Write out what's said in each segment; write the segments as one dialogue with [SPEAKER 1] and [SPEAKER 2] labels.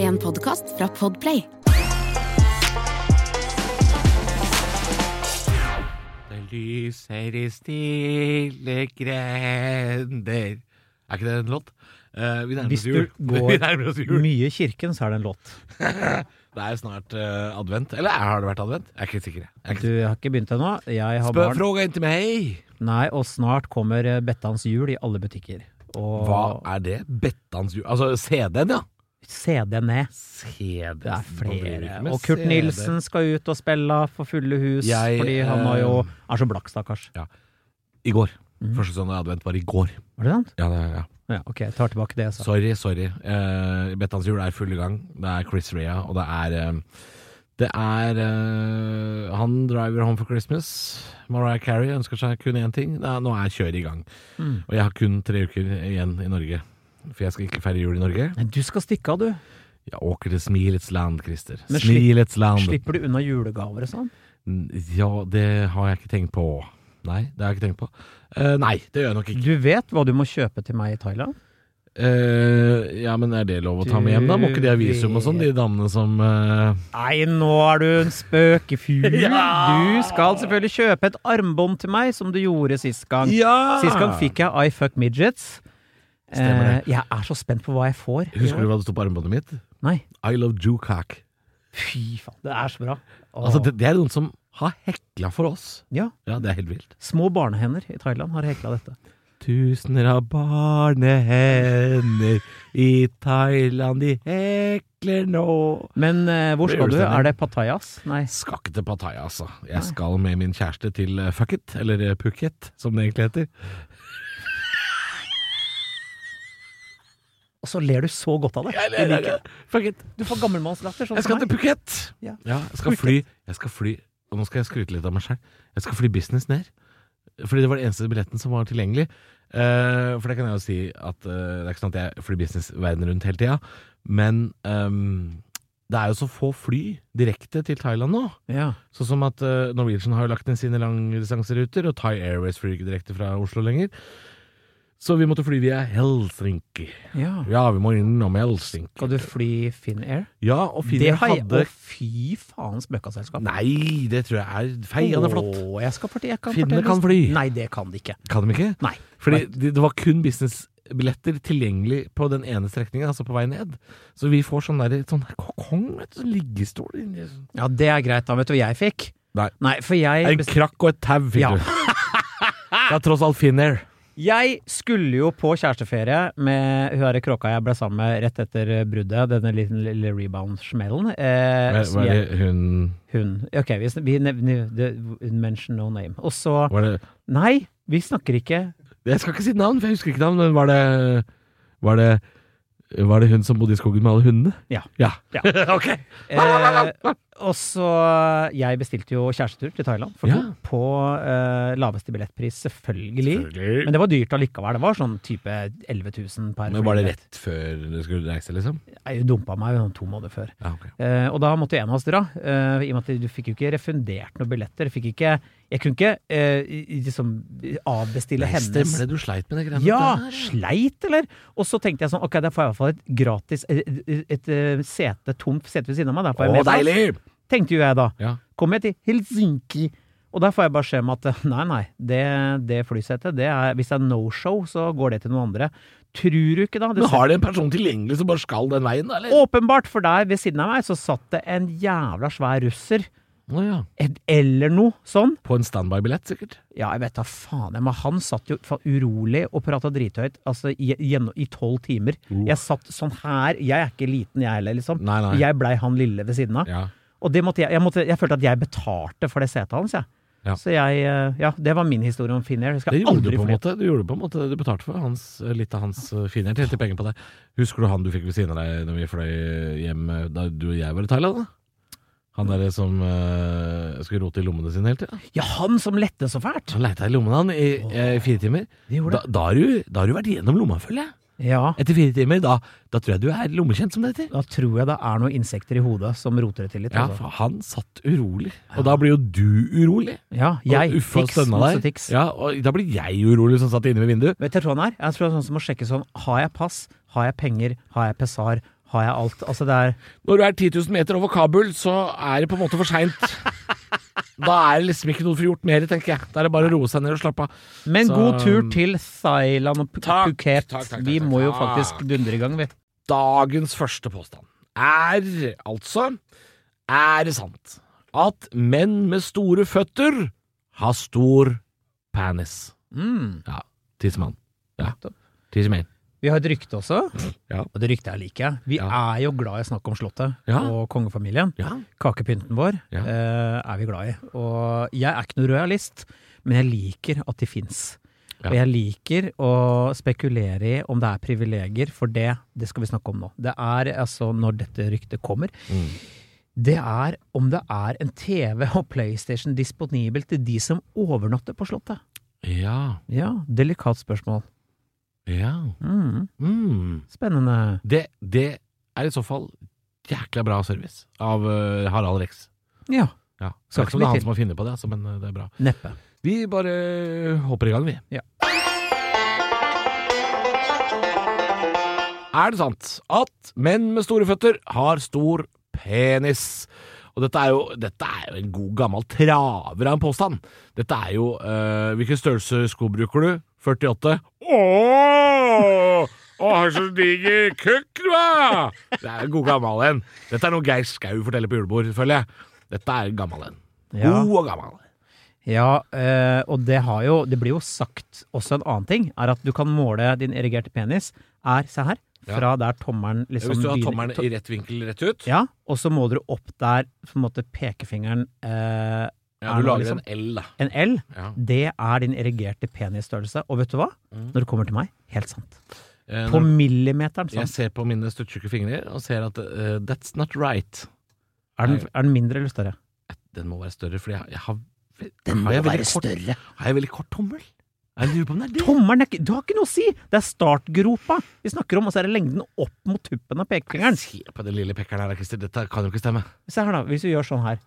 [SPEAKER 1] en podkast fra Podplay.
[SPEAKER 2] Det lyser i stille grender Er ikke det en låt? Eh, vi nærmer
[SPEAKER 3] Hvis
[SPEAKER 2] oss jul.
[SPEAKER 3] du går
[SPEAKER 2] vi nærmer oss jul.
[SPEAKER 3] Mye i kirken, så er det en låt.
[SPEAKER 2] Det er snart eh, advent. Eller er- har det vært advent? Jeg er ikke sikker. jeg. Jeg er
[SPEAKER 3] Du
[SPEAKER 2] ikke
[SPEAKER 3] jeg har ikke begynt ennå. Jeg har
[SPEAKER 2] Spør
[SPEAKER 3] barn.
[SPEAKER 2] fråga inn til meg!
[SPEAKER 3] Nei, og snart kommer eh, Bettans jul i alle butikker. Og
[SPEAKER 2] Hva er det? Bettans jul? Altså CD-en, ja.
[SPEAKER 3] CD ned.
[SPEAKER 2] CD-en.
[SPEAKER 3] Det er flere. Og Kurt Nilsen skal ut og spille for fulle hus,
[SPEAKER 2] Jeg,
[SPEAKER 3] fordi han har jo
[SPEAKER 2] eh,
[SPEAKER 3] er så blakk, stakkars.
[SPEAKER 2] I går. Første sånn advent var i går.
[SPEAKER 3] Var det sant?
[SPEAKER 2] Ja, det, ja.
[SPEAKER 3] Mm. Ja, ok, jeg tar tilbake det jeg sa.
[SPEAKER 2] Sorry, sorry. Uh, Bettans jul er i full gang. Det er Chris Rea, og det er eh, Det er eh, Han driver home for Christmas. Mariah Carey ønsker seg kun én ting. Det er, nå er kjøret i gang.
[SPEAKER 3] Mm.
[SPEAKER 2] Og jeg har kun tre uker igjen i Norge. For jeg skal ikke feire jul i Norge.
[SPEAKER 3] Nei, Du skal stikke av, du.
[SPEAKER 2] Jeg åker til smilets land, Christer.
[SPEAKER 3] Men slipp-
[SPEAKER 2] Smilets land.
[SPEAKER 3] Slipper du unna julegaver og sånn?
[SPEAKER 2] Ja, det har jeg ikke tenkt på. Nei, det har jeg ikke tenkt på. Eh, nei, det gjør jeg nok ikke.
[SPEAKER 3] Du vet hva du må kjøpe til meg i Thailand?
[SPEAKER 2] Eh, ja, men er det lov å ta med hjem, da? Må ikke de ha visum og sånn, de damene som eh,
[SPEAKER 3] Nei, nå er du en spøkefugl! Du skal selvfølgelig kjøpe et armbånd til meg, som du gjorde sist gang.
[SPEAKER 2] Ja!
[SPEAKER 3] Sist gang fikk jeg I Fuck Midgets.
[SPEAKER 2] Stemmer
[SPEAKER 3] Eh, jeg er så spent på hva jeg får.
[SPEAKER 2] Husker du hva det sto på armbåndet mitt?
[SPEAKER 3] Nei.
[SPEAKER 2] I love Jukak.
[SPEAKER 3] Fy faen, det er så bra. Åh.
[SPEAKER 2] Altså, det, det er noen som har hekla for oss.
[SPEAKER 3] Ja.
[SPEAKER 2] Ja, det er helt vilt.
[SPEAKER 3] Små barnehender i Thailand har hekla dette.
[SPEAKER 2] Tusener av barnehender i Thailand, de hekler nå.
[SPEAKER 3] Men eh, hvor
[SPEAKER 2] Det er
[SPEAKER 3] skal du?
[SPEAKER 2] julestemning.
[SPEAKER 3] Er det Pattayas? Nei.
[SPEAKER 2] Skal ikke til Pattaya, altså. Jeg skal med min kjæreste til eh, Phuket, eller eh, Phuket, som det egentlig heter.
[SPEAKER 3] Og så ler du så godt av det. Jeg liker det.
[SPEAKER 2] Phuket.
[SPEAKER 3] Du får gammelmannslatter. Sånn
[SPEAKER 2] Jeg skal
[SPEAKER 3] som
[SPEAKER 2] til
[SPEAKER 3] meg.
[SPEAKER 2] Phuket!
[SPEAKER 3] Ja.
[SPEAKER 2] jeg skal fly Jeg skal fly Og nå skal jeg skryte litt av meg selv Jeg skal fly business ned Fordi det var den eneste billetten som var tilgjengelig Eh, For det kan jeg jo si at eh, Det er ikke sånn at jeg flyr business verden rundt hele tiden Men ehm, Det er jo så få fly direkte til Thailand nå
[SPEAKER 3] Ja.
[SPEAKER 2] Sånn som at eh, Norwegian har jo lagt ned sine langdistanseruter, og Thai Airways flyr ikke direkte fra Oslo lenger. Så vi måtte fly via Helsinki.
[SPEAKER 3] ja.
[SPEAKER 2] Ja, vi må innom Helsinki.
[SPEAKER 3] Skal du fly Finnair?
[SPEAKER 2] Ja, og
[SPEAKER 3] Det
[SPEAKER 2] Finnair
[SPEAKER 3] har jeg.
[SPEAKER 2] hadde
[SPEAKER 3] Å, fy faen, spøkaselskap.
[SPEAKER 2] Nei, det tror jeg er feiende flott.
[SPEAKER 3] Å, jeg skal fortelle. Jeg kan
[SPEAKER 2] Finnene
[SPEAKER 3] fortelle-
[SPEAKER 2] kan fly.
[SPEAKER 3] Nei, det kan de ikke.
[SPEAKER 2] Kan de ikke?
[SPEAKER 3] Nei.
[SPEAKER 2] Fordi det, det var kun businessbilletter tilgjengelig på den ene strekningen, altså på vei ned. Så vi får sånn derre sånn kokong, vet du, sånn liggestol inni sånn.
[SPEAKER 3] Ja, det er greit, da. Vet du hva jeg fikk?
[SPEAKER 2] Nei.
[SPEAKER 3] Nei, for jeg
[SPEAKER 2] En krakk og et tau fikk
[SPEAKER 3] Ja.
[SPEAKER 2] du. Det er tross alt Finnair.
[SPEAKER 3] Jeg skulle jo på kjæresteferie med hun her kråka jeg ble sammen med rett etter eh, bruddet. Denne lille, lille rebound-smellen. Eh,
[SPEAKER 2] Var,
[SPEAKER 3] som
[SPEAKER 2] var det
[SPEAKER 3] jeg-
[SPEAKER 2] hun
[SPEAKER 3] Hun. Ok, vi, sn- vi nevner det- Mention no name. Og så
[SPEAKER 2] Var det
[SPEAKER 3] Nei, vi snakker ikke
[SPEAKER 2] Jeg skal ikke si navn, for jeg husker ikke navn, men var det Var det, var det hun som bodde i skogen med alle hundene?
[SPEAKER 3] Ja.
[SPEAKER 2] Ja,
[SPEAKER 3] Ja.
[SPEAKER 2] ok
[SPEAKER 3] Eh, og så Jeg bestilte jo kjærestetur til Thailand for
[SPEAKER 2] Ja.
[SPEAKER 3] to på eh, laveste billettpris, selvfølgelig. Men det var dyrt allikevel. Det var sånn type 11 000 per
[SPEAKER 2] Men var det
[SPEAKER 3] flybillett.
[SPEAKER 2] rett før du skulle reise, liksom?
[SPEAKER 3] Jeg dumpa meg jo sånn to måneder før.
[SPEAKER 2] Ja, ok
[SPEAKER 3] Eh, og da måtte en av oss dra, eh, i og med at du fikk jo ikke refundert noen billetter. Fikk ikke, jeg kunne ikke eh, i- i- liksom avbestille
[SPEAKER 2] Nei,
[SPEAKER 3] hennes
[SPEAKER 2] Stemmer det, du sleit med det greiene
[SPEAKER 3] Ja!
[SPEAKER 2] der.
[SPEAKER 3] Sleit, eller? Og så tenkte jeg sånn, ok, da får jeg i hvert fall et gratis Et, et, et eh, sete, tomt sete ved siden av meg. Da får jeg
[SPEAKER 2] Å,
[SPEAKER 3] mer plass.
[SPEAKER 2] deilig!
[SPEAKER 3] Tenkte jo jeg da.
[SPEAKER 2] Ja.
[SPEAKER 3] Kom jeg til Helsinki, og der får jeg beskjed om at eh, nei, nei, det, det flysetet, det er, hvis det er no show, så går det til noen andre. Tror du ikke da? Det
[SPEAKER 2] Men har de en person tilgjengelig som bare skal den veien, da, eller?
[SPEAKER 3] Åpenbart, for der ved siden av meg så satt det en jævla svær russer,
[SPEAKER 2] Å ja.
[SPEAKER 3] en- eller noe sånn.
[SPEAKER 2] På en standby-billett, sikkert.
[SPEAKER 3] Ja, jeg vet da faen, jeg, men han satt jo fa- urolig og prata drithøyt altså, i, gjennom- i tolv timer. Jeg satt sånn her, jeg er ikke liten jeg heller, liksom.
[SPEAKER 2] Nei, nei.
[SPEAKER 3] Jeg blei han lille ved siden av.
[SPEAKER 2] Ja.
[SPEAKER 3] Og det måtte jeg, jeg, måtte, jeg følte at jeg betalte for det setet hans, jeg.
[SPEAKER 2] Ja.
[SPEAKER 3] Så jeg eh, Ja, det var min historie om Finnair. Jeg skal
[SPEAKER 2] Det gjorde du
[SPEAKER 3] aldri
[SPEAKER 2] på en
[SPEAKER 3] fly.
[SPEAKER 2] måte. Du gjorde det på en måte Du betalte for hans, litt av hans eh, finhjert. Helt i penger på det. Husker du han du fikk ved siden av deg når vi fløy hjem eh, da du og jeg var i Thailand? da? Han derre som eh, skulle rote i lommene sine hele tida.
[SPEAKER 3] Ja, han som lette så fælt!
[SPEAKER 2] Han leita i lommene han i eh, fire timer.
[SPEAKER 3] Det gjorde
[SPEAKER 2] Da, da, har du, da har du vært gjennom lomma, føler jeg.
[SPEAKER 3] Ja.
[SPEAKER 2] Etter fire timer. Da, da tror jeg du er lommekjent, som det heter.
[SPEAKER 3] Da tror jeg det er noen insekter i hodet som roter det til litt.
[SPEAKER 2] Ja,
[SPEAKER 3] altså.
[SPEAKER 2] for han satt urolig. Og da blir jo du urolig.
[SPEAKER 3] ja jeg.
[SPEAKER 2] og uffe og
[SPEAKER 3] Tics,
[SPEAKER 2] stønna
[SPEAKER 3] masse
[SPEAKER 2] der.
[SPEAKER 3] tics.
[SPEAKER 2] Ja, og da blir jeg urolig som satt inne ved vinduet.
[SPEAKER 3] Vet du hva han er? Jeg tror det er sånn som må sjekke sånn Har jeg pass? Har jeg penger? Har jeg pessar? har jeg alt. Altså, det er
[SPEAKER 2] Når du er 10 000 meter over Kabul, så er det på en måte for seint. Da er det liksom ikke noe for gjort mer, tenker jeg. Da er det bare å roe seg ned og slappe av.
[SPEAKER 3] Men
[SPEAKER 2] Så-
[SPEAKER 3] god tur til Thailand og Pu-
[SPEAKER 2] Takk,
[SPEAKER 3] Phuket.
[SPEAKER 2] takk, takk,
[SPEAKER 3] Vi
[SPEAKER 2] takk,
[SPEAKER 3] må jo
[SPEAKER 2] takk.
[SPEAKER 3] faktisk dundre i gang, vi.
[SPEAKER 2] Dagens første påstand er altså Er det sant at menn med store føtter har stor penis?
[SPEAKER 3] Mm.
[SPEAKER 2] Ja. Tissemann. Ja.
[SPEAKER 3] Nettopp.
[SPEAKER 2] Tissemann.
[SPEAKER 3] Vi har et rykte også,
[SPEAKER 2] Ja.
[SPEAKER 3] og det ryktet jeg liker. Vi
[SPEAKER 2] Ja.
[SPEAKER 3] er jo glad i å snakke om Slottet
[SPEAKER 2] Ja.
[SPEAKER 3] og kongefamilien.
[SPEAKER 2] Ja.
[SPEAKER 3] Kakepynten vår
[SPEAKER 2] Ja.
[SPEAKER 3] eh, er vi glad i. Og jeg er ikke noe rojalist, men jeg liker at de fins.
[SPEAKER 2] Ja.
[SPEAKER 3] Og jeg liker å spekulere i om det er privilegier, for det, det skal vi snakke om nå. Det er altså, når dette ryktet kommer,
[SPEAKER 2] Mm.
[SPEAKER 3] det er om det er en TV og PlayStation disponibel til de som overnatter på Slottet.
[SPEAKER 2] Ja.
[SPEAKER 3] Ja, delikat spørsmål.
[SPEAKER 2] Ja.
[SPEAKER 3] Mm,
[SPEAKER 2] Mm.
[SPEAKER 3] spennende.
[SPEAKER 2] Det, det er i så fall jækla bra service av eh, Harald Rex.
[SPEAKER 3] Ja,
[SPEAKER 2] Ja. Skal ikke
[SPEAKER 3] Skal ikke
[SPEAKER 2] om det er
[SPEAKER 3] mye
[SPEAKER 2] han
[SPEAKER 3] til.
[SPEAKER 2] som har funnet på det, altså, men eh, det er bra.
[SPEAKER 3] neppe.
[SPEAKER 2] Vi bare hopper i gang, vi.
[SPEAKER 3] Ja.
[SPEAKER 2] Er det sant at menn med store føtter har stor penis? Og dette er jo, dette er jo en god gammel traver av en påstand. Dette er jo eh, Hvilken størrelse sko bruker du? 48? Ååå! Å, har så diger kukk, du er! Det er en god gammel en. Dette er noe Geir Skau forteller på julebord, føler jeg. Dette er en gammel en.
[SPEAKER 3] Ja.
[SPEAKER 2] God og gammel.
[SPEAKER 3] Ja, eh, og det, har jo, det blir jo sagt også en annen ting, er at du kan måle din erigerte penis er, se her,
[SPEAKER 2] Ja.
[SPEAKER 3] fra der tommeren
[SPEAKER 2] Ja,
[SPEAKER 3] liksom
[SPEAKER 2] Hvis du har
[SPEAKER 3] begynner-
[SPEAKER 2] tommelen
[SPEAKER 3] to-
[SPEAKER 2] i rett vinkel rett ut,
[SPEAKER 3] Ja, og så må dere opp der, på en måte pekefingeren, eh,
[SPEAKER 2] ja,
[SPEAKER 3] er
[SPEAKER 2] du
[SPEAKER 3] det
[SPEAKER 2] lager
[SPEAKER 3] liksom-
[SPEAKER 2] en L, da.
[SPEAKER 3] en L,
[SPEAKER 2] Ja.
[SPEAKER 3] det er din erigerte penisstørrelse. Og vet du hva?
[SPEAKER 2] Mm.
[SPEAKER 3] Når det kommer til meg, helt sant.
[SPEAKER 2] Eh,
[SPEAKER 3] På
[SPEAKER 2] når
[SPEAKER 3] millimeteren
[SPEAKER 2] jeg
[SPEAKER 3] sant.
[SPEAKER 2] ser på mine stuttjukke fingre og ser at eh, that's not right.
[SPEAKER 3] Er den, er den mindre eller større?
[SPEAKER 2] Den må være større, fordi jeg, jeg har har jeg, veldig kort,
[SPEAKER 3] større.
[SPEAKER 2] har jeg veldig kort tommel? Jeg lurer på om det er det.
[SPEAKER 3] Tommeren er ikke Du har ikke noe å si! Det er startgropa vi snakker om, og så er det lengden opp mot tuppen av pekefingeren.
[SPEAKER 2] Se på den lille pekkeren her, da, Christer. Dette kan jo ikke stemme.
[SPEAKER 3] Se her, da. Hvis vi gjør sånn her.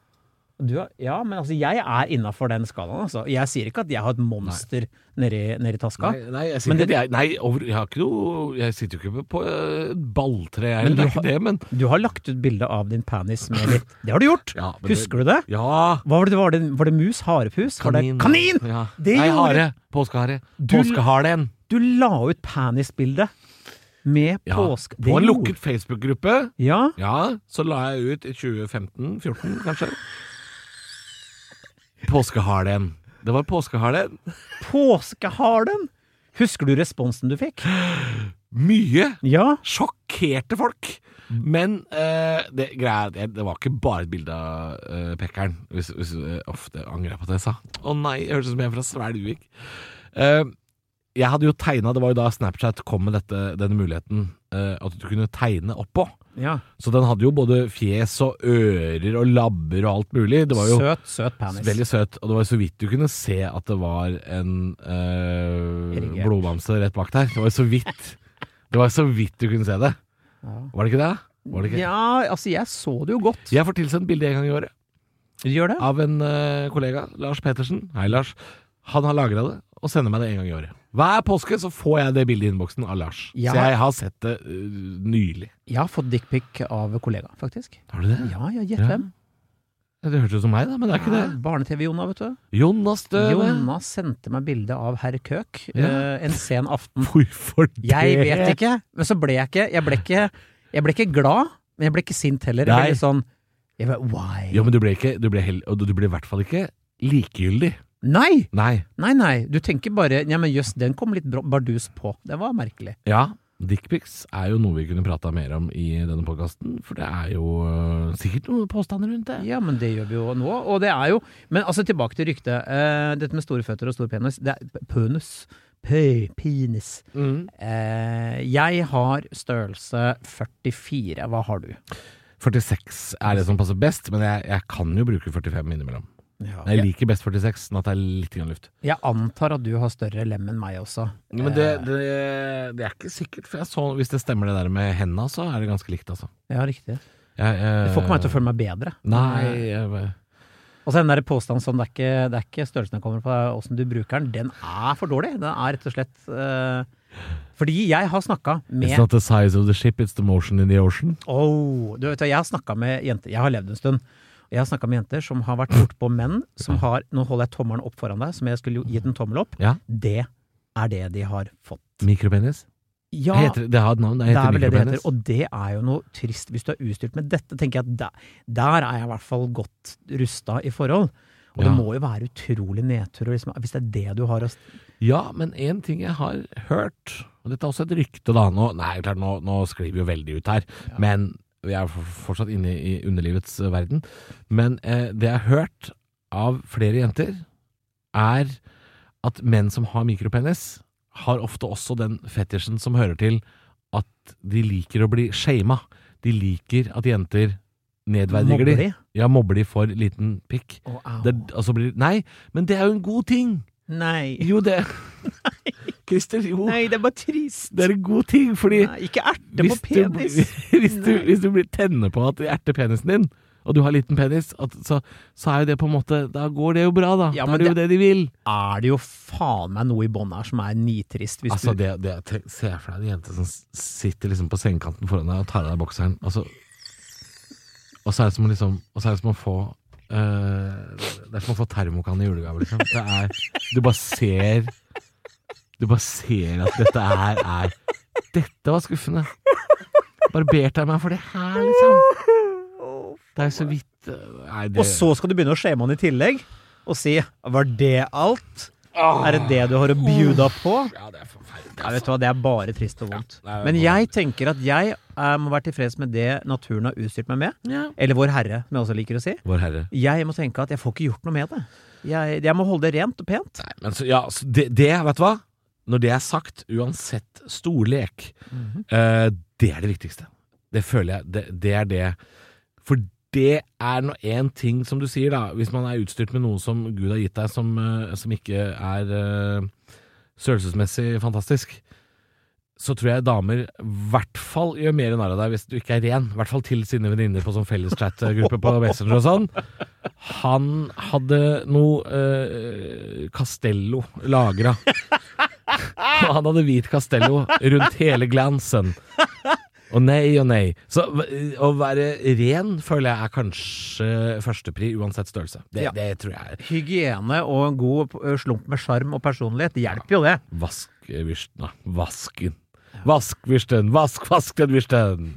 [SPEAKER 3] Du, er- ja, men altså, jeg er innafor den skalaen, altså. Jeg sier ikke at jeg har et monster nedi, nedi taska.
[SPEAKER 2] Nei, nei, jeg,
[SPEAKER 3] Men
[SPEAKER 2] sitter, jeg, nei over, jeg, har ikke noe, jeg sitter jo ikke på eh, et balltre, jeg.
[SPEAKER 3] Men
[SPEAKER 2] Det er
[SPEAKER 3] du
[SPEAKER 2] ikke det, men
[SPEAKER 3] Du har lagt ut bilde av din penis med litt Det har du gjort!
[SPEAKER 2] Ja, men det-
[SPEAKER 3] Husker du det?
[SPEAKER 2] Ja!
[SPEAKER 3] Hva var det, var det, var det mus? Harepus? Var det- Kanin!
[SPEAKER 2] Ja.
[SPEAKER 3] Det
[SPEAKER 2] nei,
[SPEAKER 3] gjorde-
[SPEAKER 2] hare. Påskehare.
[SPEAKER 3] Du-
[SPEAKER 2] Påskeharen.
[SPEAKER 3] Du la ut penisbilde med
[SPEAKER 2] Ja.
[SPEAKER 3] påske... Det
[SPEAKER 2] På en
[SPEAKER 3] gjorde-
[SPEAKER 2] lukket Facebook-gruppe.
[SPEAKER 3] Ja.
[SPEAKER 2] Ja, så la jeg ut i 2015-14, kanskje. Påskeharen. Det var påskeharen.
[SPEAKER 3] Påskeharen! Husker du responsen du fikk?
[SPEAKER 2] Mye
[SPEAKER 3] Ja.
[SPEAKER 2] sjokkerte folk. Men eh, det, greia, er at jeg- det var ikke bare et bilde av eh, pekkeren. Hvis, hvis, eh, uff, det angrer jeg på at jeg sa. Å nei, jeg hørtes ut som jeg er fra Svelvik. Eh, jeg hadde jo tegna Det var jo da Snapchat kom med dette, denne muligheten. eh, at du kunne tegne oppå.
[SPEAKER 3] ja.
[SPEAKER 2] Så den hadde jo både fjes og ører og labber og alt mulig. Det var jo
[SPEAKER 3] Søt, søt penis.
[SPEAKER 2] Veldig søt, og det var så vidt du kunne se at det var en eh,
[SPEAKER 3] Erigert.
[SPEAKER 2] blodbamse rett bak der. Det var så vidt. Det var så vidt du kunne se det.
[SPEAKER 3] Ja.
[SPEAKER 2] Var det ikke det? Var det ikke?
[SPEAKER 3] Ja, altså, jeg så det jo godt.
[SPEAKER 2] Jeg får tilsendt bilde en gang i året
[SPEAKER 3] Du gjør det?
[SPEAKER 2] av en eh, kollega, Lars Petersen. Hei, Lars. Han har lagra det og sender meg det en gang i året. Hver påske så får jeg det bildet i innboksen av Lars.
[SPEAKER 3] Ja.
[SPEAKER 2] Så jeg har sett det eh, nylig.
[SPEAKER 3] Jeg har fått dickpic av kollega, faktisk.
[SPEAKER 2] Har du det?
[SPEAKER 3] Ja, ja, gjett
[SPEAKER 2] Ja.
[SPEAKER 3] hvem?
[SPEAKER 2] Det hørtes ut som meg, da, men det er ikke det.
[SPEAKER 3] Ja, Barne-TV-Jonna, vet du.
[SPEAKER 2] Jonas Støve.
[SPEAKER 3] Jonna sendte meg bilde av herr Køk
[SPEAKER 2] Ja.
[SPEAKER 3] eh, en sen aften.
[SPEAKER 2] Hvorfor det?
[SPEAKER 3] Jeg vet ikke, men så ble jeg ikke Jeg ble ikke, jeg ble ikke glad, men jeg ble ikke sint heller. Jeg
[SPEAKER 2] Nei.
[SPEAKER 3] ble litt sånn jeg ble, Why?
[SPEAKER 2] Jo, men du ble ikke Du ble, hell, og du ble i hvert fall ikke likegyldig.
[SPEAKER 3] Nei!
[SPEAKER 2] Nei.
[SPEAKER 3] Nei, nei. Du tenker bare Ja, men jøss, den kom litt bra- bardus på. Det var merkelig.
[SPEAKER 2] Ja, dickpics er jo noe vi kunne prata mer om i denne podkasten, for det er jo øh, sikkert noen påstander rundt det.
[SPEAKER 3] Ja, men det gjør vi jo nå, og det er jo Men altså, tilbake til ryktet. Eh, dette med store føtter og stor penis. Det er pønus. Pøy, penis.
[SPEAKER 2] Mm.
[SPEAKER 3] Eh, jeg har størrelse 44. Hva har du?
[SPEAKER 2] 46 er det som passer best, men jeg, jeg kan jo bruke 45 innimellom. Men Jeg
[SPEAKER 3] Jeg,
[SPEAKER 2] liker best 46, sånn at det er litt grann luft.
[SPEAKER 3] jeg antar at du har større lem enn meg også.
[SPEAKER 2] Men det, det, det er ikke sikkert, for jeg så, hvis det stemmer det der med henda, så er det ganske likt, altså.
[SPEAKER 3] Ja, riktig.
[SPEAKER 2] Jeg, eh,
[SPEAKER 3] Det får ikke meg til å føle meg bedre.
[SPEAKER 2] Nei, jeg,
[SPEAKER 3] Og så den der påstanden som det er ikke, det er ikke størrelsen jeg kommer på, det er åssen du bruker den, den er for dårlig. Den er rett og slett eh, Fordi jeg har snakka
[SPEAKER 2] It's
[SPEAKER 3] med
[SPEAKER 2] not the size of the ship, it's the motion in the ocean.
[SPEAKER 3] oh, du vet, hva, Jeg har snakka med jenter Jeg har levd en stund. Og Jeg har snakka med jenter som har vært bortpå menn som har Nå holder jeg tommelen opp foran deg, som jeg skulle jo gitt en tommel opp.
[SPEAKER 2] Ja.
[SPEAKER 3] Det er det de har fått.
[SPEAKER 2] Mikropenis?
[SPEAKER 3] Ja,
[SPEAKER 2] Heter, det har et navn, det
[SPEAKER 3] det er
[SPEAKER 2] heter
[SPEAKER 3] vel det det heter.
[SPEAKER 2] mikropenis.
[SPEAKER 3] Og det er jo noe trist hvis du er utstyrt med dette. tenker jeg at Der, der er jeg i hvert fall godt rusta i forhold. Og det
[SPEAKER 2] Ja.
[SPEAKER 3] må jo være utrolig nedtur å liksom, hvis det er det du har å s-
[SPEAKER 2] Ja, men én ting jeg har hørt, og dette er også et rykte da Nå, nei, klart, nå, nå sklir vi jo veldig ut her, men vi er f- fortsatt inne i underlivets eh, verden. Men eh, det jeg har hørt av flere jenter, er at menn som har mikropenis, har ofte også den fetisjen som hører til at de liker å bli shama. De liker at jenter nedverdiger
[SPEAKER 3] mobber
[SPEAKER 2] de.
[SPEAKER 3] i.
[SPEAKER 2] Ja, mobber de for liten pikk.
[SPEAKER 3] Å, au.
[SPEAKER 2] Det, altså blir, nei, men det er jo en god ting!
[SPEAKER 3] Nei.
[SPEAKER 2] Jo, det Christer, jo.
[SPEAKER 3] Nei, det er bare trist.
[SPEAKER 2] Det er en god ting, fordi
[SPEAKER 3] Nei, ikke erte på
[SPEAKER 2] hvis, du,
[SPEAKER 3] penis.
[SPEAKER 2] hvis, du,
[SPEAKER 3] Nei.
[SPEAKER 2] hvis du blir tenner på at det erter penisen din, og du har liten penis, at, så, så er jo det på en måte Da går det jo bra, da.
[SPEAKER 3] Ja,
[SPEAKER 2] da
[SPEAKER 3] men
[SPEAKER 2] er det jo det de vil.
[SPEAKER 3] Er det jo faen meg noe i bånn her som er nitrist, hvis
[SPEAKER 2] Altså,
[SPEAKER 3] du
[SPEAKER 2] det, det, tenk- Se for deg en jente som s- sitter liksom på sengekanten foran deg og tar av deg bokseren, og så Og så er det som å liksom Og så er det som å få eh, Det er som å få termokan i julegave, liksom. Det er Du bare ser Du bare ser at dette er, er Dette var skuffende. Barberte jeg meg for det her, liksom? Det er jo så vidt eh, Nei, det
[SPEAKER 3] Og så skal du begynne å shame han i tillegg, og si 'var det alt'? Er det det du har å bjuda på?
[SPEAKER 2] Ah. Ja, det er forferdelig. altså.
[SPEAKER 3] Ja, vet du hva, Det er bare trist og vondt.
[SPEAKER 2] Ja, det er
[SPEAKER 3] Men
[SPEAKER 2] bare-
[SPEAKER 3] jeg tenker at jeg eh, må være tilfreds med det naturen har utstyrt meg med.
[SPEAKER 2] Ja.
[SPEAKER 3] Eller Vår Herre, som jeg også liker å si.
[SPEAKER 2] Vår Herre.
[SPEAKER 3] Jeg må tenke at jeg får ikke gjort noe med det. Jeg, jeg må holde det rent og pent.
[SPEAKER 2] Nei, men så, ja, så det, det, vet du hva? Når det er sagt, uansett storlek, eh, det er det viktigste. Det føler jeg, det, det er det. For det er nå én ting, som du sier, da, hvis man er utstyrt med noe som Gud har gitt deg, som, eh, som ikke er eh, størrelsesmessig fantastisk, så tror jeg damer i hvert fall gjør mer narr av deg hvis du ikke er ren. I hvert fall til sine venninner på sånn felleschat-gruppe på Messenger og sånn. Han hadde noe eh, Castello lagra. Og han hadde hvit Castello rundt hele glansen. Og nei og nei. Så eh, å være ren føler jeg er kanskje førstepri, uansett størrelse. Det,
[SPEAKER 3] Ja.
[SPEAKER 2] det tror jeg er
[SPEAKER 3] Hygiene og en god eh, slump med sjarm og personlighet, det hjelper jo det.
[SPEAKER 2] Vaskvirsten Nei, vasken. Vaskvirsten, vask, vask den virsten!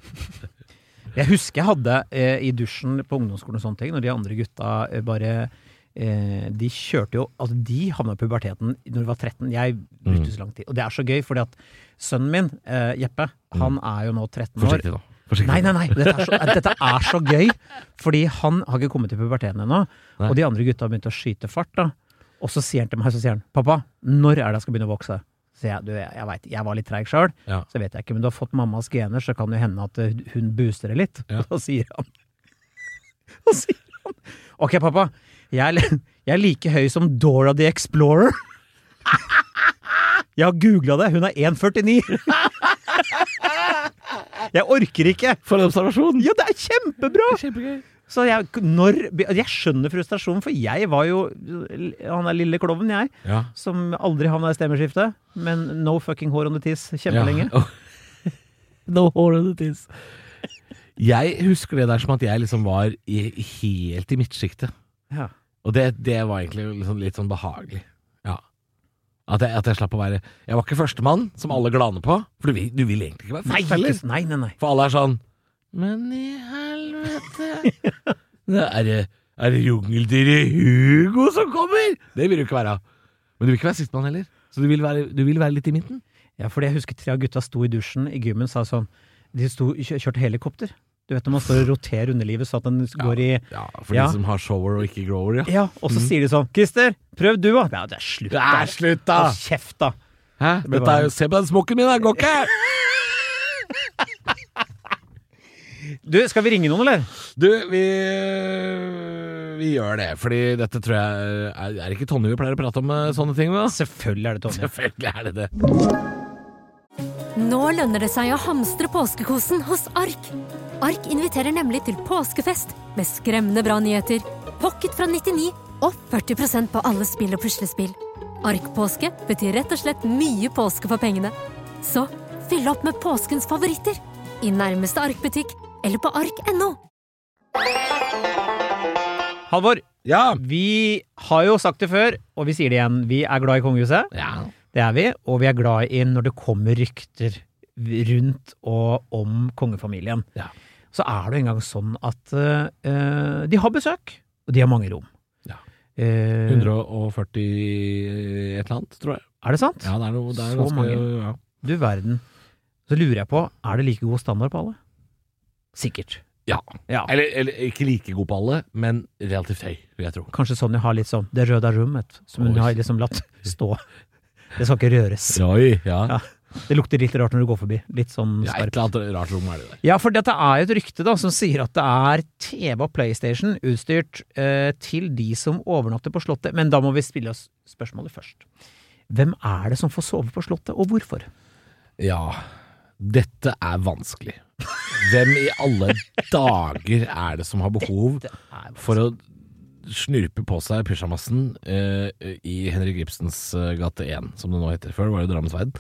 [SPEAKER 3] Jeg husker jeg hadde eh, i dusjen på ungdomsskolen og sånne ting, når de andre gutta eh, bare eh, De kjørte jo Altså, de havna i puberteten når de var 13. Jeg
[SPEAKER 2] Mm.
[SPEAKER 3] brukte så lang tid. Og det er så gøy, fordi at sønnen min, eh, Jeppe, han er jo nå 13 år.
[SPEAKER 2] Mm. Forsiktig nå. Forsiktig.
[SPEAKER 3] Nei, nei, nei. Dette er, så, dette er så gøy. Fordi han har ikke kommet til puberteten ennå.
[SPEAKER 2] Nei.
[SPEAKER 3] Og de andre gutta har begynt å skyte fart. da. Og så sier han til meg, så sier han, pappa, når er det jeg skal begynne å vokse? Så jeg, du, jeg, jeg vet, jeg var litt treig sjøl,
[SPEAKER 2] Ja.
[SPEAKER 3] så vet jeg ikke. Men du har fått mammas gener, så kan det jo hende at eh, hun booster det litt.
[SPEAKER 2] Ja.
[SPEAKER 3] Og da sier han Da sier han Ok, pappa. Jeg er, li- jeg er like høy som Dora the Explorer. Jeg har googla det. Hun er 1,49. Jeg orker ikke.
[SPEAKER 2] For en observasjon!
[SPEAKER 3] Ja, det er kjempebra!
[SPEAKER 2] Kjempegøy.
[SPEAKER 3] Så jeg, når, jeg skjønner frustrasjonen, for jeg var jo han er lille klovnen, jeg.
[SPEAKER 2] Ja.
[SPEAKER 3] Som aldri havna i stemmeskiftet. Men no fucking hår on the tiss kjempelenge.
[SPEAKER 2] Ja. no hole in the tiss. Jeg husker det der som at jeg liksom var i, helt i midtsjiktet.
[SPEAKER 3] Ja.
[SPEAKER 2] Og det, det var egentlig liksom litt sånn behagelig. Ja. At jeg, at jeg slapp å være Jeg var ikke førstemann, som alle glaner på. For du vil, du vil egentlig ikke være
[SPEAKER 3] Nei,
[SPEAKER 2] først
[SPEAKER 3] ikke,
[SPEAKER 2] heller.
[SPEAKER 3] nei, nei, nei.
[SPEAKER 2] For alle er sånn Men i helvete Det Er det, er det jungeldyret Hugo som kommer? Det vil du ikke være Men du vil ikke være sistemann heller Så du vil være, du vil være litt i midten
[SPEAKER 3] Ja, fordi jeg husker tre av gutta sto i dusjen i gymmen sa sånn De sto, kjø- kjørte helikopter. Du vet når man står og roterer underlivet så at den går i
[SPEAKER 2] Ja, Mm. for
[SPEAKER 3] Ja.
[SPEAKER 2] de som har shower og ikke grower ja.
[SPEAKER 3] Ja, og så sier de sånn Christer, prøv du, da! Ja, det er slutt, da!
[SPEAKER 2] Ja, slutt da
[SPEAKER 3] Hold kjeft, da!
[SPEAKER 2] Hæ?
[SPEAKER 3] blir
[SPEAKER 2] Dette er
[SPEAKER 3] bare-
[SPEAKER 2] jo, se på den smokken min, det går ikke
[SPEAKER 3] Du, skal vi ringe noen, eller?
[SPEAKER 2] Du, vi, vi gjør det Fordi dette tror jeg Er, er det ikke Tonje vi pleier å prate om eh, sånne ting med?
[SPEAKER 3] Selvfølgelig er det Tonje.
[SPEAKER 2] Selvfølgelig er det det
[SPEAKER 1] Nå lønner det seg å hamstre påskekosen hos Ark. Ark inviterer nemlig til påskefest med skremmende bra nyheter, pocket fra 99 og 40 på alle spill og puslespill. Ark-påske betyr rett og slett mye påske for pengene. Så fyll opp med påskens favoritter i nærmeste arkbutikk eller på ark.no.
[SPEAKER 3] Halvor,
[SPEAKER 2] Ja!
[SPEAKER 3] vi har jo sagt det før, og vi sier det igjen. Vi er glad i kongehuset.
[SPEAKER 2] ja.
[SPEAKER 3] Det er vi. Og vi er glad i når det kommer rykter rundt og om kongefamilien.
[SPEAKER 2] Ja.
[SPEAKER 3] Så er det jo engang sånn at eh, de har besøk, og de har mange rom.
[SPEAKER 2] Ja.
[SPEAKER 3] Eh,
[SPEAKER 2] 140 et eller annet, tror jeg.
[SPEAKER 3] er det sant?
[SPEAKER 2] Ja, det er noe, det er
[SPEAKER 3] Så
[SPEAKER 2] ganske,
[SPEAKER 3] mange.
[SPEAKER 2] Ja.
[SPEAKER 3] Du verden. Så lurer jeg på, er det like god standard på alle? Sikkert.
[SPEAKER 2] Ja.
[SPEAKER 3] Ja.
[SPEAKER 2] Eller, eller ikke like god på alle, men relativt høy, vil jeg tro.
[SPEAKER 3] Kanskje Sonja har litt sånn det røde rommet, som hun
[SPEAKER 2] Oi.
[SPEAKER 3] har liksom latt stå. Det skal ikke røres.
[SPEAKER 2] Oi, ja.
[SPEAKER 3] Ja. Det lukter litt rart når du går forbi. Litt sånn
[SPEAKER 2] Ja, et
[SPEAKER 3] skarp.
[SPEAKER 2] eller annet rart rom er det der.
[SPEAKER 3] Ja, for dette er jo et rykte da, som sier at det er TV og PlayStation utstyrt eh, til de som overnatter på Slottet. Men da må vi spille oss spørsmålet først. Hvem er det som får sove på Slottet, og hvorfor?
[SPEAKER 2] Ja, dette er vanskelig. Hvem i alle dager er det som har behov
[SPEAKER 3] Det er
[SPEAKER 2] for å snurpe på seg pysjamasen eh, i Henrik Ibsens eh, gate 1, som det nå heter. Før var det Drammensveien.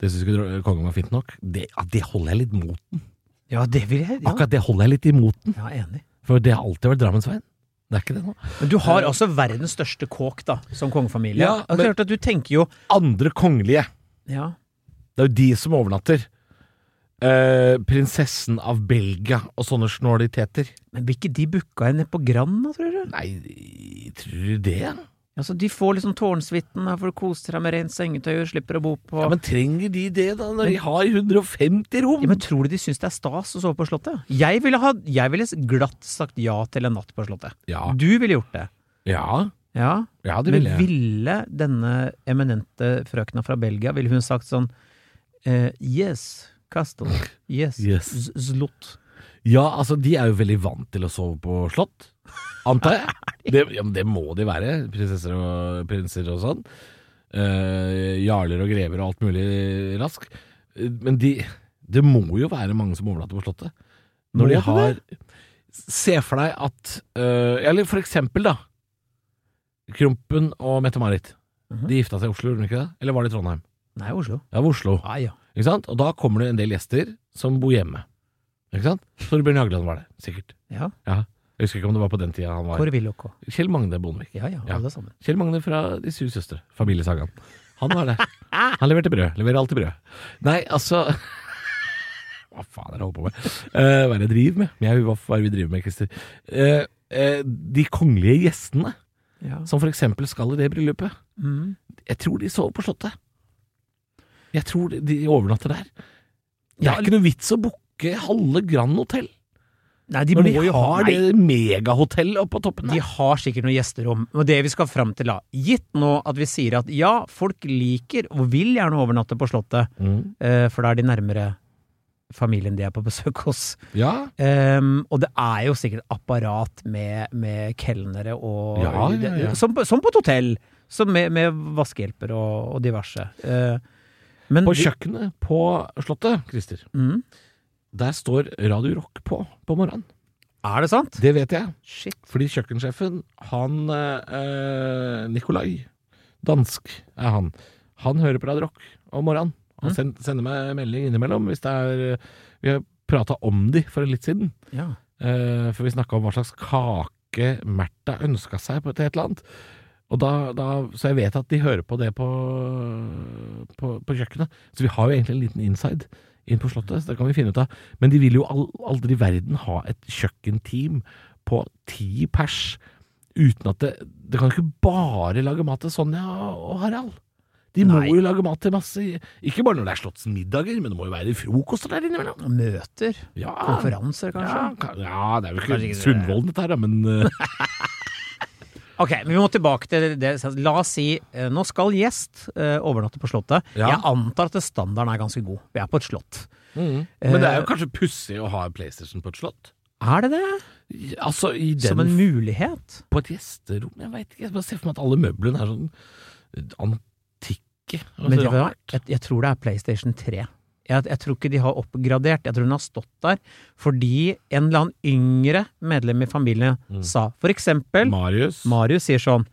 [SPEAKER 2] Det syns ikke dro- kongen var fint nok. Det, ja, det holder jeg litt mot.
[SPEAKER 3] Ja, det vil jeg. Ja,
[SPEAKER 2] Akkurat det holder jeg litt imot den,
[SPEAKER 3] ja enig.
[SPEAKER 2] for det har alltid vært Drammensveien. Det er ikke det nå.
[SPEAKER 3] Men du har altså verdens største kåk, da, som kongefamilie.
[SPEAKER 2] Ja,
[SPEAKER 3] Ja, men... Klart at du tenker jo
[SPEAKER 2] Andre kongelige.
[SPEAKER 3] Ja,
[SPEAKER 2] Det er jo de som overnatter. Eh, prinsessen av Belgia og sånne snåliteter.
[SPEAKER 3] men blir ikke de booka inn på Grand, da, tror du?
[SPEAKER 2] Nei, tror du det? Ja,
[SPEAKER 3] Altså, de får liksom tårnsuiten, her får du kose deg med rent sengetøy, og slipper å bo på
[SPEAKER 2] Men trenger de det, da, når de har 150 rom?
[SPEAKER 3] Ja, men tror du de syns det er stas å sove på Slottet? Jeg ville, ha, jeg ville glatt sagt ja til en natt på Slottet.
[SPEAKER 2] Ja.
[SPEAKER 3] Du ville gjort det.
[SPEAKER 2] Ja,
[SPEAKER 3] Ja,
[SPEAKER 2] ja det
[SPEAKER 3] Men
[SPEAKER 2] vil jeg.
[SPEAKER 3] ville denne eminente frøkna fra Belgia, ville hun sagt sånn eh, Yes, Castle. Yes,
[SPEAKER 2] Yes.
[SPEAKER 3] Z- Zlot.
[SPEAKER 2] Ja, altså, de er jo veldig vant til å sove på slott, antar jeg. Det, ja, men det må de være, prinsesser og prinser og sånn. Eh, jarler og grever og alt mulig rask. Eh, Men de, det må jo være mange som overnatter på slottet.
[SPEAKER 3] Må
[SPEAKER 2] Når de
[SPEAKER 3] det
[SPEAKER 2] har Se for deg at eh, Eller for eksempel, da. Krompen og Mette-Marit.
[SPEAKER 3] Mhm.
[SPEAKER 2] De gifta seg i Oslo, gjorde de ikke det? Eller var det i Trondheim?
[SPEAKER 3] Nei, Oslo.
[SPEAKER 2] Ah, Ja, det var Oslo.
[SPEAKER 3] Ja, ja.
[SPEAKER 2] Ikke sant? Og da kommer det en del gjester som bor hjemme. Ikke sant? Torbjørn Jagland var det, sikkert.
[SPEAKER 3] ja.
[SPEAKER 2] Ja. Jeg husker ikke om det var på den tida han var
[SPEAKER 3] Kåre Willoch òg.
[SPEAKER 2] Kjell Magne Bondevik.
[SPEAKER 3] Ja, ja,
[SPEAKER 2] Ja.
[SPEAKER 3] alle sammen.
[SPEAKER 2] Kjell Magne fra De syv søstre, familiesagaen. Han var det. Han leverte brød. Leverer alltid brød. Nei, altså Hva faen er det jeg holder på med? Eh, hva er det jeg driver med? Jeg, hva hva er det vi driver med, Christer? Eh, eh, de kongelige gjestene
[SPEAKER 3] Ja.
[SPEAKER 2] som for eksempel skal i det bryllupet,
[SPEAKER 3] Mm.
[SPEAKER 2] jeg tror de sover på Slottet. Jeg tror de- de overnatter der. Det
[SPEAKER 3] Ja,
[SPEAKER 2] er ikke noe vits å booke halve Grand Hotell.
[SPEAKER 3] Nei, de
[SPEAKER 2] Når
[SPEAKER 3] må
[SPEAKER 2] de
[SPEAKER 3] jo ha
[SPEAKER 2] har
[SPEAKER 3] Nei,
[SPEAKER 2] det megahotellet oppe på toppen
[SPEAKER 3] De
[SPEAKER 2] der.
[SPEAKER 3] har sikkert noen gjesterom. Og det vi skal fram til, da. Gitt nå at vi sier at ja, folk liker og vil gjerne overnatte på Slottet,
[SPEAKER 2] Mm.
[SPEAKER 3] eh, for da er de nærmere familien de er på besøk hos.
[SPEAKER 2] Ja,
[SPEAKER 3] Ehm, og det er jo sikkert apparat med, med kelnere og
[SPEAKER 2] Ja, ja, ja.
[SPEAKER 3] Som, på- som på et hotell! Som med, med vaskehjelper og, og diverse. Eh, men
[SPEAKER 2] på
[SPEAKER 3] de-
[SPEAKER 2] kjøkkenet på Slottet, Christer,
[SPEAKER 3] Mm.
[SPEAKER 2] der står Radio Rock på på morgenen.
[SPEAKER 3] Er det sant?
[SPEAKER 2] Det vet jeg,
[SPEAKER 3] Shit.
[SPEAKER 2] fordi kjøkkensjefen, han eh, Nikolai, dansk er han, han hører på Radio Rock om morgenen. Han
[SPEAKER 3] Mm.
[SPEAKER 2] send, sender meg melding innimellom hvis det er eh, Vi har prata om de for litt siden.
[SPEAKER 3] Ja.
[SPEAKER 2] Eh, for vi snakka om hva slags kake Märtha ønska seg på til et eller annet. Og da, da, så jeg vet at de hører på det på, på, på kjøkkenet. Så vi har jo egentlig en liten inside inn på Slottet, så det kan vi finne ut av. Men de vil jo al- aldri i verden ha et kjøkkenteam på ti pers uten at det Det kan ikke bare lage mat til Sonja og Harald. De
[SPEAKER 3] Nei.
[SPEAKER 2] må jo lage mat til masse Ikke bare når det er slottsmiddager, men det må jo være frokoster der innimellom.
[SPEAKER 3] Møter?
[SPEAKER 2] Ja.
[SPEAKER 3] Konferanser, kanskje?
[SPEAKER 2] Ja, ka- ja, det er jo
[SPEAKER 3] Kanskje
[SPEAKER 2] ikke
[SPEAKER 3] ikke
[SPEAKER 2] Sundvolden dette her, da, men eh,
[SPEAKER 3] Ok, men vi må tilbake til det. Så La oss si eh, nå skal gjest eh, overnatte på Slottet.
[SPEAKER 2] Ja.
[SPEAKER 3] Jeg antar at standarden er ganske god. Vi er på et slott. Mm.
[SPEAKER 2] Men det er jo kanskje pussig å ha en PlayStation på et slott?
[SPEAKER 3] Eh, Er det det?
[SPEAKER 2] Altså, i den,
[SPEAKER 3] Som en mulighet?
[SPEAKER 2] på et gjesterom? Jeg veit ikke. Jeg bare ser for meg at alle møblene er sånn antikke. Og
[SPEAKER 3] Men
[SPEAKER 2] så
[SPEAKER 3] vet du hva?
[SPEAKER 2] rart.
[SPEAKER 3] jeg, jeg tror det er PlayStation 3. Jeg, jeg tror ikke de har oppgradert. Jeg tror hun har stått der fordi en eller annen yngre medlem i familien
[SPEAKER 2] Mm.
[SPEAKER 3] sa For eksempel
[SPEAKER 2] Marius.
[SPEAKER 3] Marius sier sånn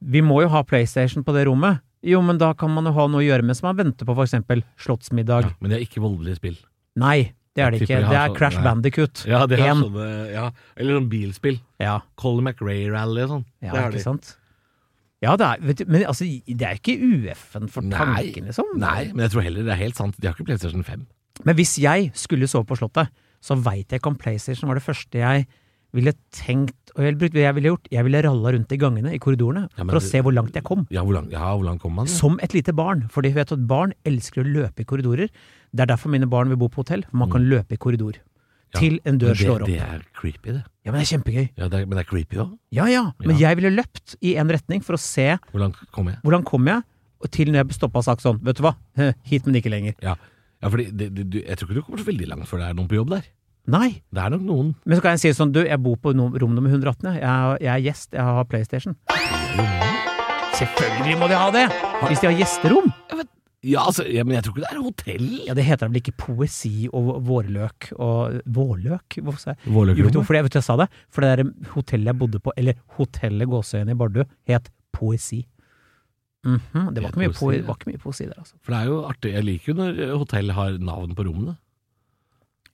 [SPEAKER 3] Vi må jo ha PlayStation på det rommet. Jo, men da kan man jo ha noe å gjøre mens man venter på f.eks. slottsmiddag.
[SPEAKER 2] Ja, men det er ikke voldelige spill.
[SPEAKER 3] Nei, det er det
[SPEAKER 2] Jeg
[SPEAKER 3] ikke.
[SPEAKER 2] tipper de
[SPEAKER 3] Det
[SPEAKER 2] har
[SPEAKER 3] er
[SPEAKER 2] sånn-
[SPEAKER 3] Crash
[SPEAKER 2] nei.
[SPEAKER 3] Bandicoot.
[SPEAKER 2] Ja, det er sånn.
[SPEAKER 3] En.
[SPEAKER 2] sånne, ja. Eller sånn bilspill.
[SPEAKER 3] Ja,
[SPEAKER 2] Colin McRae-rally og sånn.
[SPEAKER 3] ja
[SPEAKER 2] det har
[SPEAKER 3] ikke
[SPEAKER 2] de.
[SPEAKER 3] sant? Ja, det er, vet du, men altså, det er ikke UF-en for
[SPEAKER 2] Nei.
[SPEAKER 3] tanken, liksom.
[SPEAKER 2] Nei, men jeg tror heller det er helt sant. De har ikke PlayStation 5.
[SPEAKER 3] Men hvis jeg skulle sove på Slottet, så veit jeg ikke om PlayStation var det første jeg ville tenkt og jeg, jeg ville gjort. Jeg ville ralla rundt i gangene, i korridorene,
[SPEAKER 2] Ja, men
[SPEAKER 3] for å
[SPEAKER 2] det-
[SPEAKER 3] se hvor langt jeg kom.
[SPEAKER 2] Ja, hvor langt, ja, hvor langt kom man?
[SPEAKER 3] Som et lite barn, fordi vet du at barn elsker å løpe i korridorer. Det er derfor mine barn vil bo på hotell, for man kan løpe i korridor.
[SPEAKER 2] Mm. Ja,
[SPEAKER 3] Til en dør
[SPEAKER 2] Men det,
[SPEAKER 3] slår opp.
[SPEAKER 2] Det er creepy, det.
[SPEAKER 3] Ja, men det er kjempegøy.
[SPEAKER 2] Ja, det er, men det er creepy òg.
[SPEAKER 3] Ja, ja. Men
[SPEAKER 2] Ja.
[SPEAKER 3] jeg ville løpt i én retning for å se
[SPEAKER 2] Hvor langt kom jeg?
[SPEAKER 3] hvordan kom jeg, og til når jeg stoppa og sagt sånn, vet du hva, hit, men ikke lenger.
[SPEAKER 2] Ja, ja fordi det, det, du, Jeg tror ikke du kommer så veldig langt før det er noen på jobb der.
[SPEAKER 3] Nei.
[SPEAKER 2] Det er nok noen.
[SPEAKER 3] Men så kan jeg si sånn, du, jeg bor på no rom nummer 118, jeg. jeg, er- jeg er gjest, jeg har PlayStation. Selvfølgelig må de ha det! Hvis de har gjesterom.
[SPEAKER 2] Ja, altså, ja, Men jeg tror ikke det er hotell.
[SPEAKER 3] Ja, det heter da vel ikke poesi og vårløk og Vårløk? Hvorfor sa jeg Jo, vet du
[SPEAKER 2] Vårløkrommet.
[SPEAKER 3] hvorfor jeg, vet du, jeg sa det? For det der hotellet jeg bodde på, eller hotellet Gåsøyene i Bardu, het Poesi. Mhm, det var
[SPEAKER 2] Het
[SPEAKER 3] ikke, mye
[SPEAKER 2] Poesi,
[SPEAKER 3] poe
[SPEAKER 2] ja.
[SPEAKER 3] var ikke mye poesi der, altså.
[SPEAKER 2] For det er jo artig. Jeg liker jo når eh, hotell har navn på rommene.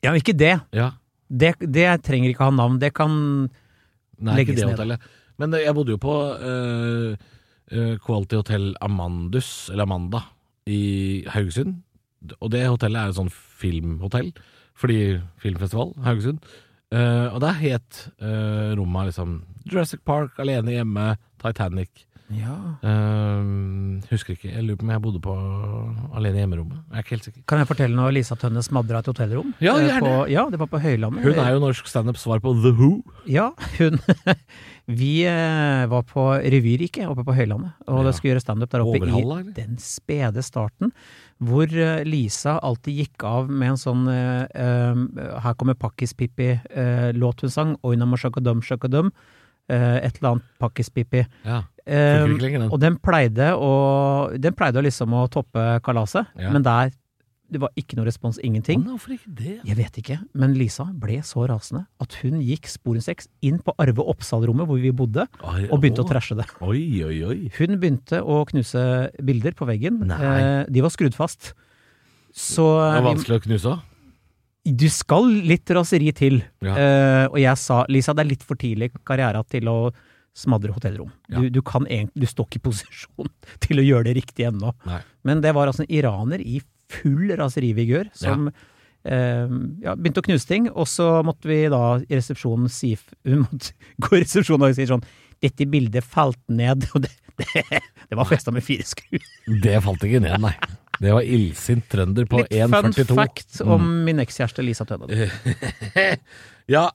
[SPEAKER 3] Ja, men ikke det.
[SPEAKER 2] Ja,
[SPEAKER 3] det. Det trenger ikke ha navn. Det kan
[SPEAKER 2] Nei, ikke
[SPEAKER 3] Legges
[SPEAKER 2] det
[SPEAKER 3] ned.
[SPEAKER 2] hotellet. Men eh, jeg bodde jo på eh, eh, Quality Hotel Amandus, eller Amanda, i Haugesund. Og det hotellet er et sånn filmhotell, fordi filmfestival, Haugesund. Eh, og der het uh, rommet liksom Jurassic Park, Alene hjemme, Titanic.
[SPEAKER 3] Ja.
[SPEAKER 2] Eh, husker ikke, jeg lurer på om jeg bodde på Alene hjemme-rommet. Jeg er ikke helt sikker.
[SPEAKER 3] Kan jeg fortelle når Lisa Tønne smadra et hotellrom?
[SPEAKER 2] Ja,
[SPEAKER 3] Eh,
[SPEAKER 2] gjerne.
[SPEAKER 3] På, ja, det var på Høylandet.
[SPEAKER 2] Hun er jo norsk standup-svar på The Who.
[SPEAKER 3] Ja, hun Vi eh, var på Revyriket oppe på Høylandet,
[SPEAKER 2] Ja.
[SPEAKER 3] og det skulle gjøre standup der oppe
[SPEAKER 2] Overhalla,
[SPEAKER 3] i
[SPEAKER 2] eller?
[SPEAKER 3] den spede starten, hvor eh, Lisa alltid gikk av med en sånn eh, eh, Her kommer Pakkis-Pippi-låt hun sang, Oinam og Shakadum Shakadum, eh, et eller annet Pakkis-Pippi.
[SPEAKER 2] Ja,
[SPEAKER 3] Eh,
[SPEAKER 2] Funker ikke lenger, den.
[SPEAKER 3] og den pleide å, den pleide å liksom å toppe kalaset,
[SPEAKER 2] Ja.
[SPEAKER 3] men der det var ikke noe respons, ingenting.
[SPEAKER 2] Å, nei, Hvorfor ikke det?
[SPEAKER 3] Jeg vet ikke, men Lisa ble så rasende at hun gikk sporenstreks inn på Arve Oppsal-rommet hvor vi bodde,
[SPEAKER 2] Ai,
[SPEAKER 3] og begynte
[SPEAKER 2] å.
[SPEAKER 3] å trashe det.
[SPEAKER 2] Oi, oi, oi.
[SPEAKER 3] Hun begynte å knuse bilder på veggen.
[SPEAKER 2] Nei.
[SPEAKER 3] Eh, De var skrudd fast. Så eh,
[SPEAKER 2] Det var
[SPEAKER 3] vi-
[SPEAKER 2] vanskelig å knuse òg.
[SPEAKER 3] du skal litt raseri til.
[SPEAKER 2] Ja.
[SPEAKER 3] Eh, og jeg sa Lisa, det er litt for tidlig i karriera til å smadre hotellrom.
[SPEAKER 2] Ja.
[SPEAKER 3] Du, du, kan egentlig, du står ikke i posisjon til å gjøre det riktig ennå.
[SPEAKER 2] Nei.
[SPEAKER 3] Men det var altså en iraner i full raserivigør som eh, ja, begynte å knuse ting. Og så måtte vi da i resepsjonen si f- Hun måtte gå i resepsjonen og si sånn Dette bildet falt ned. Og det, det, det var festa med fire skruer.
[SPEAKER 2] Det falt ikke ned, nei. Det var illsint trønder på
[SPEAKER 3] Litt fun
[SPEAKER 2] 1,42.
[SPEAKER 3] fact om min ekskjæreste Lisa Tønne.
[SPEAKER 2] Ja,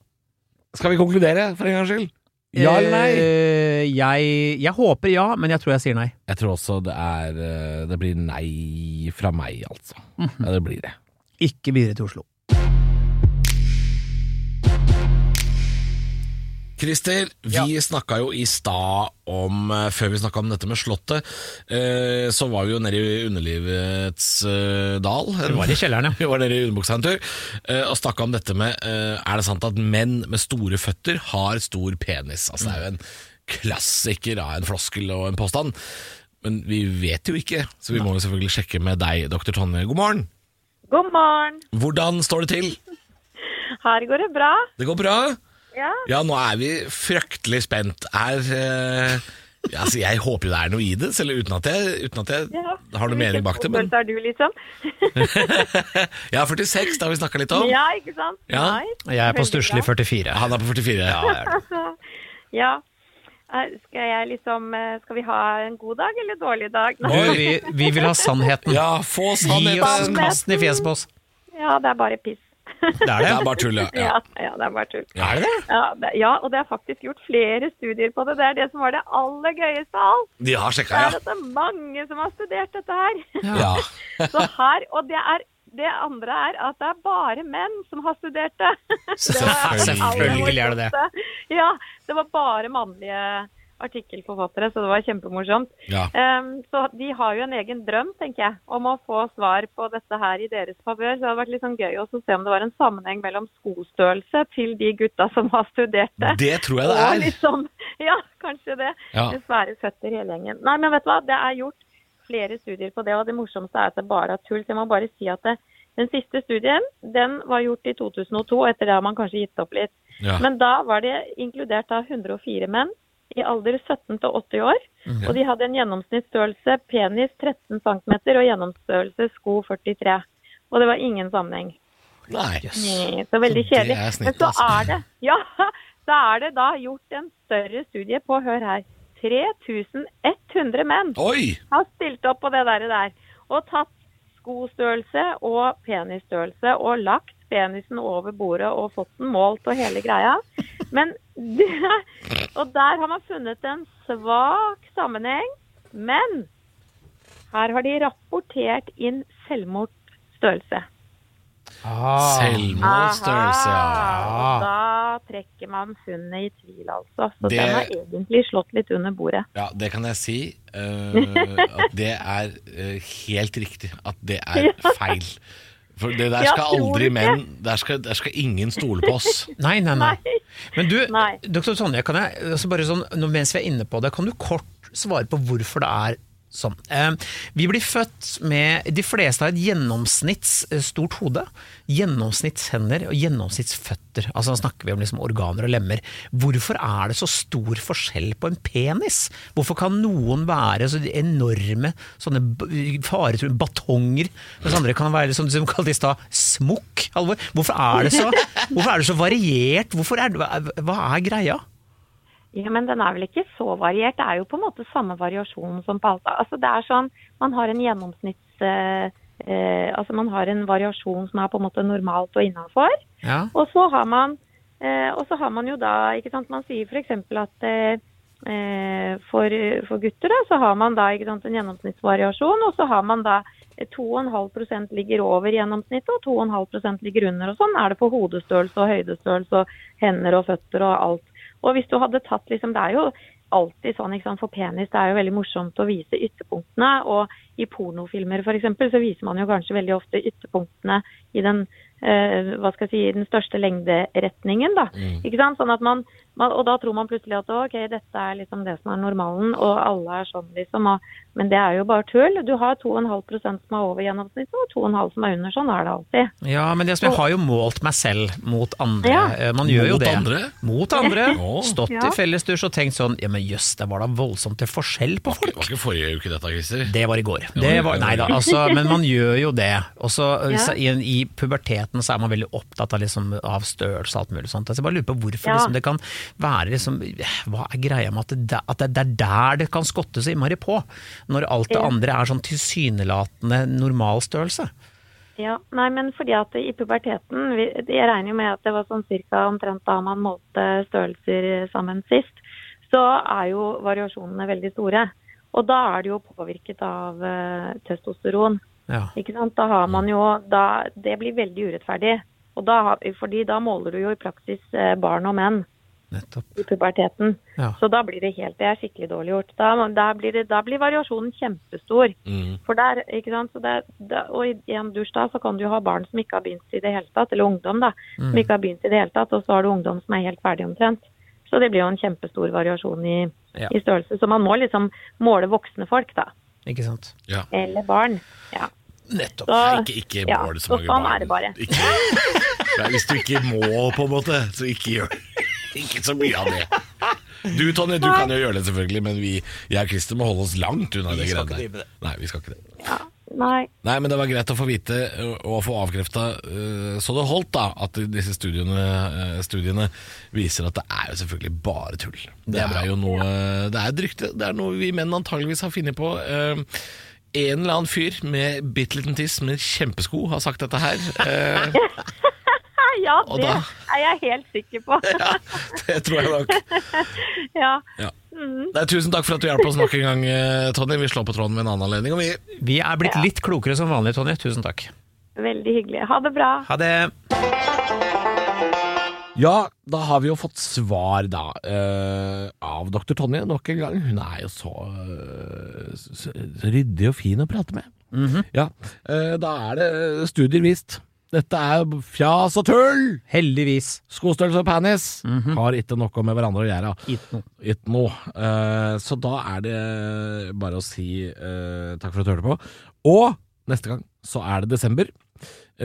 [SPEAKER 2] skal vi konkludere for en gangs skyld? Ja eller nei?
[SPEAKER 3] Eh, jeg, jeg håper ja, men jeg tror jeg sier nei.
[SPEAKER 2] Jeg tror også det er eh, Det blir nei fra meg, altså.
[SPEAKER 3] Mhm.
[SPEAKER 2] Ja, det blir det.
[SPEAKER 3] Ikke videre til Oslo.
[SPEAKER 2] Christer, vi snakka jo i stad om eh, Før vi snakka om dette med Slottet, eh, så var vi jo nede i underlivets eh, dal.
[SPEAKER 3] Det var i kjelleren, ja.
[SPEAKER 2] Vi var nede i underbuksa en tur eh, og snakka om dette med eh, Er det sant at menn med store føtter har stor penis? Altså Det er jo en klassiker av en floskel og en påstand. Men vi vet jo ikke, så vi må jo selvfølgelig sjekke med deg, dr. Tonje. God morgen.
[SPEAKER 4] God morgen.
[SPEAKER 2] Hvordan står det til?
[SPEAKER 4] Her går det bra.
[SPEAKER 2] Det går bra?
[SPEAKER 4] Ja.
[SPEAKER 2] Ja, nå er vi fryktelig spent. Er eh, ja, altså, Jeg håper jo det er noe i det, selv uten at jeg, uten at jeg
[SPEAKER 4] ja.
[SPEAKER 2] har noe mening bak det. Men
[SPEAKER 4] Hvilken fotballfølelse er du, liksom?
[SPEAKER 2] jeg er 46, det har vi snakka litt om.
[SPEAKER 4] Ja, ikke sant?
[SPEAKER 2] Ja.
[SPEAKER 4] Nei.
[SPEAKER 3] Jeg er på
[SPEAKER 4] Veldig
[SPEAKER 3] stusslig
[SPEAKER 4] bra.
[SPEAKER 3] 44.
[SPEAKER 2] Han er på 44.
[SPEAKER 4] Ja. Er- Skal jeg liksom eh, Skal vi ha en god dag eller dårlig dag?
[SPEAKER 3] Du, vi, vi vil ha sannheten.
[SPEAKER 2] ja få
[SPEAKER 3] Gi oss
[SPEAKER 2] sannheten!
[SPEAKER 3] kasten i fjeset på oss.
[SPEAKER 4] Ja, det er bare piss.
[SPEAKER 3] Det er
[SPEAKER 2] Det
[SPEAKER 3] det.
[SPEAKER 2] er bare tull, ja. ja.
[SPEAKER 4] Ja, ja det er bare tull.
[SPEAKER 2] Er det det?
[SPEAKER 4] Ja, det, ja, og det er faktisk gjort flere studier på det. Det er det som var det aller gøyeste av alt.
[SPEAKER 2] De har
[SPEAKER 4] Det
[SPEAKER 2] sjekka,
[SPEAKER 4] er
[SPEAKER 2] ja.
[SPEAKER 4] at det er mange som har studert dette her.
[SPEAKER 2] ja.
[SPEAKER 4] Så her, Og det, er, det andre er at det er bare menn som har studert det. Det var det aller
[SPEAKER 3] Selvfølgelig er det det.
[SPEAKER 4] morsomste. Ja, det var bare mannlige artikkelforfattere, så det var kjempemorsomt.
[SPEAKER 2] ja.
[SPEAKER 4] Ehm, så de har jo en egen drøm, tenker jeg, om å få svar på dette her i deres favør. Så det hadde vært litt sånn gøy også å se om det var en sammenheng mellom skostørrelse til de gutta som har studert det.
[SPEAKER 2] Det tror jeg det
[SPEAKER 4] Og
[SPEAKER 2] er.
[SPEAKER 4] liksom, ja, kanskje det.
[SPEAKER 2] Ja.
[SPEAKER 4] Med svære føtter hele gjengen. Nei, men vet du hva, det er gjort flere studier på det, og det morsomste er at det bare er tull. Så jeg må bare si at det, den siste studien den var gjort i 2002, etter det har man kanskje gitt opp litt.
[SPEAKER 2] Ja.
[SPEAKER 4] Men da var det inkludert av 104 menn i alder 17 til 80 år.
[SPEAKER 5] Mhm.
[SPEAKER 4] Og de hadde en gjennomsnittsstørrelse penis 13 cm og gjennomstørrelse sko 43. Og det var ingen sammenheng.
[SPEAKER 5] Nei.
[SPEAKER 4] Nei, Så veldig
[SPEAKER 5] Så det
[SPEAKER 4] kjedelig.
[SPEAKER 5] er snittet,
[SPEAKER 4] Men så
[SPEAKER 5] altså.
[SPEAKER 4] er det ja, så er det da gjort en større studie på, hør her, 3100 menn
[SPEAKER 5] Oi!
[SPEAKER 4] har stilt opp på det der, der og tatt skostørrelse og penisstørrelse og lagt penisen over bordet og fått den målt og hele greia. Men det, og der har man funnet en svak sammenheng, men her har de rapportert inn selvmordsstørrelse.
[SPEAKER 2] Ah.
[SPEAKER 3] Ah.
[SPEAKER 5] Selvmålt størrelse, ja.
[SPEAKER 4] Aha, og Da trekker man funnet i tvil, altså. Så
[SPEAKER 5] Det-
[SPEAKER 4] den har egentlig slått litt under bordet.
[SPEAKER 5] Ja, det kan jeg si. eh, at det er eh, helt riktig. At det er feil. For det der
[SPEAKER 4] Ja,
[SPEAKER 5] skal
[SPEAKER 4] tror du
[SPEAKER 5] aldri
[SPEAKER 4] ikke?
[SPEAKER 5] menn Der skal, der skal ingen stole på oss.
[SPEAKER 3] Nei, nei, nei. Men du,
[SPEAKER 4] Nei.
[SPEAKER 3] doktor Sonja, kan jeg, altså bare sånn, nå mens vi er inne på det, kan du kort svare på hvorfor det er sånn? Eh, Vi blir født med De fleste har et gjennomsnitts eh, stort hode. Gjennomsnittshender og gjennomsnittsføtter. Altså da snakker vi om liksom organer og lemmer. Hvorfor er det så stor forskjell på en penis? Hvorfor kan noen være så enorme sånne b- faretru- batonger, mens andre kan være som de kalte i stad, smokk? Alvor. Hvorfor er det så, hvorfor er det så variert? Hvorfor er, det- hva er greia?
[SPEAKER 4] Ja, men den er vel ikke så variert. Det er jo på en måte samme variasjon som på alt. Altså, det er sånn, man har en gjennomsnitts... Eh, eh, altså, man har en variasjon som er på en måte normalt og innafor.
[SPEAKER 3] Ja.
[SPEAKER 4] Og så har man, eh, og så har man jo da, ikke sant, man sier f.eks. at eh, eh, for, for gutter da, så har man da ikke sant, en gjennomsnittsvariasjon, og så har man da eh, 2,5 ligger over gjennomsnittet, og 2,5 ligger under. Og sånn er det på hodestørrelse og høydestørrelse og hender og føtter og alt. Og hvis du hadde tatt liksom, det er jo alltid sånn ikke sant, for penis, det er jo veldig morsomt å vise ytterpunktene. Og i pornofilmer f.eks. så viser man jo kanskje veldig ofte ytterpunktene i den eh, hva skal jeg si, i den største lengderetningen. da, ikke sant, sånn at man, man, Og da tror man plutselig at ok, dette er liksom det som er normalen, og alle er sånn liksom. Og, men det er jo bare tull. Du har 2,5 som er over gjennomsnittet, og 2,5 som er under. Sånn er det alltid.
[SPEAKER 3] Ja, men det som jeg har jo målt meg selv mot andre.
[SPEAKER 4] Ja.
[SPEAKER 3] Eh, Man gjør jo
[SPEAKER 5] Mot
[SPEAKER 3] det.
[SPEAKER 5] andre?
[SPEAKER 3] Mot andre.
[SPEAKER 5] Ja.
[SPEAKER 3] Stått
[SPEAKER 4] Ja.
[SPEAKER 3] i fellesdusj og tenkt sånn Ja, men jøss, det var da voldsomt til forskjell på
[SPEAKER 5] Det
[SPEAKER 3] folk.
[SPEAKER 5] var ikke forrige uke, dette, Christer.
[SPEAKER 3] Det var i går.
[SPEAKER 5] Det
[SPEAKER 3] Det
[SPEAKER 5] var
[SPEAKER 3] var,
[SPEAKER 5] i går.
[SPEAKER 3] nei da, altså, men man gjør jo det. Og så
[SPEAKER 4] Ja.
[SPEAKER 3] så i, I puberteten så er man veldig opptatt av, liksom, av størrelse og alt mulig sånt. Så jeg bare lurer på hvorfor
[SPEAKER 4] Ja.
[SPEAKER 3] liksom, det kan være liksom, Hva er greia med at det, der- at det, det er der det kan skotte så innmari på? Når alt det
[SPEAKER 4] Ja.
[SPEAKER 3] andre er sånn tilsynelatende normal størrelse.
[SPEAKER 4] Ja, nei, men fordi at i puberteten vi- Jeg regner jo med at det var sånn cirka omtrent da man målte størrelser sammen sist. Så er jo variasjonene veldig store. Og da er det jo påvirket av eh, testosteron.
[SPEAKER 3] Ja.
[SPEAKER 4] Ikke sant? Da har man jo da, Det blir veldig urettferdig. Og da, har- fordi da måler du jo i praksis eh, barn og menn
[SPEAKER 3] Nettopp.
[SPEAKER 4] i puberteten.
[SPEAKER 3] Ja.
[SPEAKER 4] Så da blir det helt Det er skikkelig dårlig gjort. Da, da, blir, det, da blir variasjonen kjempestor.
[SPEAKER 5] Mm,
[SPEAKER 4] For der, ikke sant? Så det, da- og i i en dusj da, så kan du jo ha barn som ikke har begynt i det hele tatt, eller ungdom da,
[SPEAKER 3] Mm.
[SPEAKER 4] som ikke har begynt i det hele tatt, og så har du ungdom som er helt ferdig omtrent. Så det blir jo en kjempestor variasjon i,
[SPEAKER 3] Ja.
[SPEAKER 4] i størrelse. Så man må liksom måle voksne folk da,
[SPEAKER 3] Ikke sant.
[SPEAKER 5] Ja.
[SPEAKER 4] eller barn. Ja.
[SPEAKER 3] Nettopp.
[SPEAKER 4] Så,
[SPEAKER 5] Ikke, ikke
[SPEAKER 4] ja,
[SPEAKER 5] mål så
[SPEAKER 4] så
[SPEAKER 5] mange
[SPEAKER 4] sånn
[SPEAKER 5] barn.
[SPEAKER 4] er det bare.
[SPEAKER 5] Ikke, Nei, hvis du ikke må, på en måte, så ikke gjør Ikke så mye av det. Du Tonje, du kan jo gjøre det selvfølgelig, men vi, jeg og Christer må holde oss langt unna det greiene
[SPEAKER 3] skal ikke drive
[SPEAKER 5] der.
[SPEAKER 3] det.
[SPEAKER 5] Nei, vi skal ikke det.
[SPEAKER 4] Nei,
[SPEAKER 5] Nei, men det var greit å få vite ø, og få avkrefta så det holdt, da, at disse studiene, ø, studiene viser at det er jo selvfølgelig bare tull. Det, er, jo noe Det er et rykte. Det er noe vi menn antageligvis har funnet på. Ø, en eller annen fyr med bitte liten tiss med kjempesko har sagt dette her. Eh,
[SPEAKER 4] ja,
[SPEAKER 5] Og
[SPEAKER 4] det
[SPEAKER 5] da-
[SPEAKER 4] er jeg helt sikker på.
[SPEAKER 5] ja, det tror jeg nok.
[SPEAKER 4] ja.
[SPEAKER 5] Ja. Nei, tusen takk for at du hjalp oss nok en gang, eh, Tonje. Vi slår på tråden ved en annen anledning. Og vi
[SPEAKER 3] Vi er blitt litt klokere som vanlig, Tonje. Tusen takk.
[SPEAKER 4] Veldig hyggelig. Ha det bra.
[SPEAKER 3] Ha det.
[SPEAKER 2] Ja, da har vi jo fått svar da eh, av dr. Tonje nok en gang. Hun er jo så, eh, så, så ryddig og fin å prate med. Ja, eh, Da er det eh, studier vist Dette er fjas og tull!
[SPEAKER 3] Heldigvis.
[SPEAKER 2] Skostørrelse og penis har ikke noe med hverandre å gjøre.
[SPEAKER 3] Ikke noe.
[SPEAKER 2] Ikke noe. Eh, så da er det bare å si eh, takk for at du hørte på. Og neste gang så er det desember.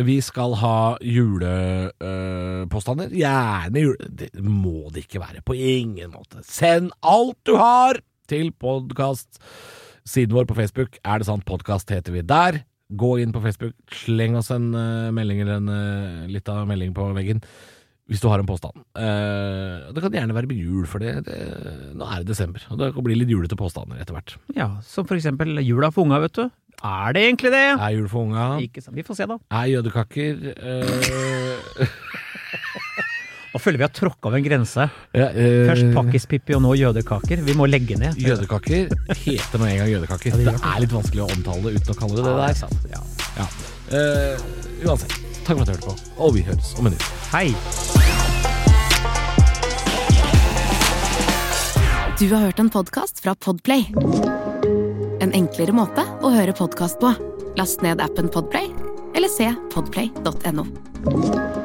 [SPEAKER 2] Vi skal ha julepåstander. Gjerne jule... Det må det ikke være. På ingen måte. Send alt du har til podkast. Siden vår på Facebook er det sant podkast heter vi der. Gå inn på Facebook, sleng oss en eh, melding eller en uh, lita melding på veggen hvis du har en påstand. Eh, det kan gjerne være med jul, for det, det, nå er det desember. Og det blir litt julete påstander etter hvert.
[SPEAKER 3] Ja, som for eksempel jula for unga, vet du. Er det egentlig det?
[SPEAKER 2] Er jul for unga?
[SPEAKER 3] Ikke sant. Vi får se, da.
[SPEAKER 2] Er jødekaker? eh,
[SPEAKER 3] Nå føler vi har tråkka over en grense.
[SPEAKER 2] ja, eh,
[SPEAKER 3] Først pakkispippi og nå jødekaker. Vi må legge ned.
[SPEAKER 2] Jødekaker heter nå en gang jødekaker.
[SPEAKER 3] Ja, det
[SPEAKER 2] det,
[SPEAKER 3] gjør
[SPEAKER 2] er litt vanskelig å omtale det uten å kalle det det der.
[SPEAKER 3] Ja.
[SPEAKER 2] Ja. Eh, uansett, takk for at du hørte på, og vi høres om en uke.
[SPEAKER 3] Hei.
[SPEAKER 6] Du har hørt en podcast fra Podplay En enklere måte å høre podcast på Last ned appen Podplay Eller se podplay.no